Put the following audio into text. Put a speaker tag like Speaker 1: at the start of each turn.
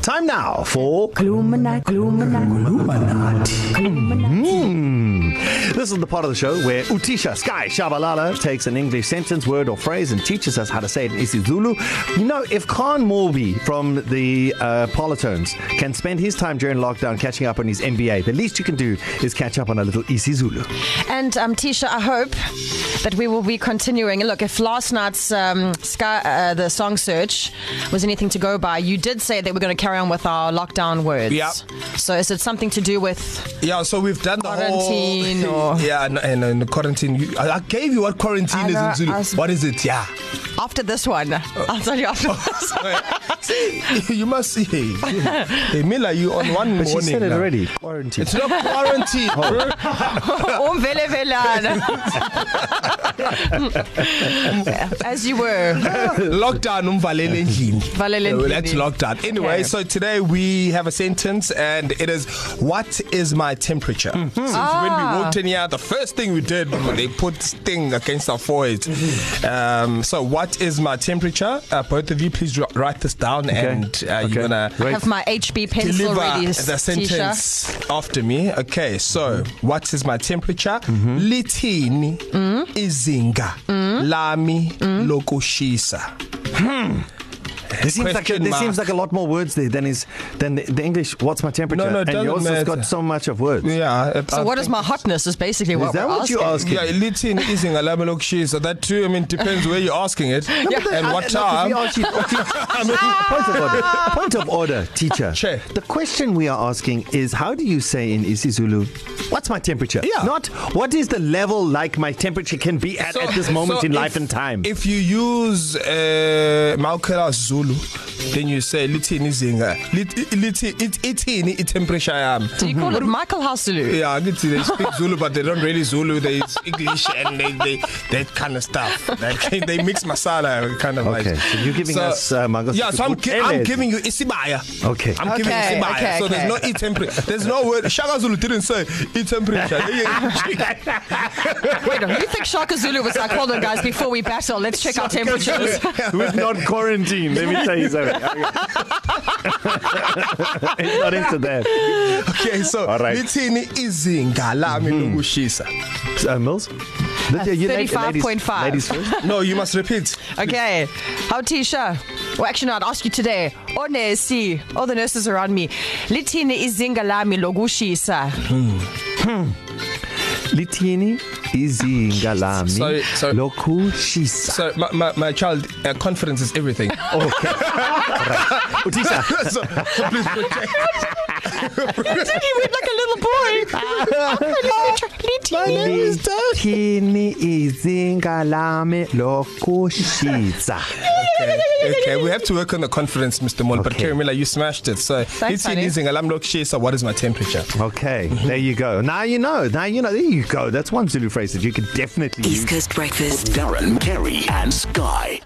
Speaker 1: Time now for
Speaker 2: Illuminati, Illuminati,
Speaker 1: Mm. This is the part of the show where Utisha Sky Shabalala takes an English sentence, word, or phrase and teaches us how to say it in isiZulu. You know, if Khan Morby from the uh, Politones can spend his time during lockdown catching up on his NBA, the least you can do is catch up on a little isiZulu.
Speaker 3: And um, Tisha, I hope that we will be continuing. Look, if last night's um, Sky, uh, the song search was anything to go by, you did say that we're going to carry on with our lockdown words.
Speaker 4: Yeah.
Speaker 3: So is it something to do with?
Speaker 4: Yeah, so we've done the
Speaker 3: Quarantine
Speaker 4: whole
Speaker 3: or-
Speaker 4: yeah, eh, and, and, and quarantine. You, I, I gave you what quarantine
Speaker 3: I
Speaker 4: is in
Speaker 3: know,
Speaker 4: Zulu.
Speaker 3: I was-
Speaker 4: What is it? Yeah,
Speaker 3: After this one, I'll tell you after this.
Speaker 4: you must see. Hey, hey Mila, you on one
Speaker 1: But
Speaker 4: morning.
Speaker 1: she said it
Speaker 4: now.
Speaker 1: already. Oh. Quarantine.
Speaker 4: It's not quarantine. bro.
Speaker 3: Um vele velana. As you were.
Speaker 4: lockdown umvalele endlini
Speaker 3: Valele endlini.
Speaker 4: that's lockdown anyway okay.
Speaker 3: Okay.
Speaker 4: so today we have a sentence and it is what is my temperature mm-hmm. since ah. when we walked in here the first thing we did they put this thing against our foreheads mm-hmm. um so what is my temperature uh, both of you please r- write this down okay. and uh, okay. you're gonna
Speaker 3: I
Speaker 1: Great.
Speaker 3: have my HB pencil
Speaker 4: deliver
Speaker 3: ready.
Speaker 4: the
Speaker 3: Tisha.
Speaker 4: sentence Tisha. after me. Okay, so mm-hmm. what is my temperature? Mm-hmm. Lithini mm-hmm. izinga mm-hmm. lami mm-hmm. lokushisa.
Speaker 1: There seems like a,
Speaker 4: Question
Speaker 1: there
Speaker 4: mark.
Speaker 1: seems like a lot more words there than is than the, the English. What's my temperature?
Speaker 4: No, no, it
Speaker 1: and
Speaker 4: doesn't
Speaker 1: yours has
Speaker 4: matter.
Speaker 1: got so much of words.
Speaker 4: Yeah. it-
Speaker 3: So
Speaker 4: I
Speaker 3: what
Speaker 4: think-
Speaker 3: is my hotness? Is basically what
Speaker 1: Oh, Is that
Speaker 3: we're
Speaker 1: what you're asking?
Speaker 4: Yeah, lithini izinga lami lokushisa. That too I mean depends where you're asking it yeah. and what time.
Speaker 1: Archie, Archie, point of order. Point of order, teacher.
Speaker 4: Sure.
Speaker 1: The question we are asking is how do you say in isiZulu, what's my temperature?
Speaker 4: Yeah.
Speaker 1: Not what is the level like my temperature can be at so, at this moment so in
Speaker 4: if,
Speaker 1: life and time.
Speaker 4: If you use uh, Maukela Zulu, then you say lithini izinga. Lithi lithi- it- ithini i temperature yami.
Speaker 3: Do you call it Michael Hasulu?
Speaker 4: Yeah, I can see they speak Zulu, but they don't really Zulu. They speak English and they, they that kind of stuff. Like, they mix masala kind of
Speaker 1: Okay,
Speaker 4: like.
Speaker 1: so you're giving us, uh, Mangosuthu
Speaker 4: Yeah, so I'm, gi- I'm
Speaker 1: Buthelezi.
Speaker 4: giving you isibaya.
Speaker 1: Okay.
Speaker 4: I'm giving
Speaker 3: Okay,
Speaker 4: you isibaya.
Speaker 3: okay,
Speaker 4: so
Speaker 3: okay.
Speaker 4: there's no e temperature. There's no word. Shaka Zulu didn't say e temperature.
Speaker 3: Wait, you think Shaka Zulu was like, hold on, guys, before we battle, let's check our temperatures.
Speaker 1: With not quarantine, let me tell you something. it's not into that.
Speaker 4: okay, so
Speaker 1: All right. Mhm.
Speaker 4: lithini izinga lami lokushisa.
Speaker 1: Uh, Mills? Uh,
Speaker 3: 35.5.
Speaker 1: Ladies first.
Speaker 4: No, you must repeat.
Speaker 3: Okay. How Tisha? Well, actually, no, I'd ask you today. Onesi, all the nurses around me. Litini izinga lami lokushisa.
Speaker 1: Litini izinga lami
Speaker 4: Sorry, sorry.
Speaker 1: lokushisa.
Speaker 4: So my, my, my child, uh, confidence is everything.
Speaker 1: Okay. All right. Utisha,
Speaker 4: so, so please protect.
Speaker 3: He went like a little boy. Litini.
Speaker 1: Litini izinga lami lokushisa.
Speaker 4: okay, we have to work on the confidence, Mr. Mol. Okay. But
Speaker 1: Okay.
Speaker 4: Kerry Miller, you smashed it. So it's
Speaker 3: honey.
Speaker 4: using alarm lock chaser. What is my temperature?
Speaker 1: Okay, there you go. Now you know. Now you know. There you go. That's one Zulu phrase that you could definitely use.
Speaker 5: East Coast Breakfast.
Speaker 6: Darren, Kerry, and Sky.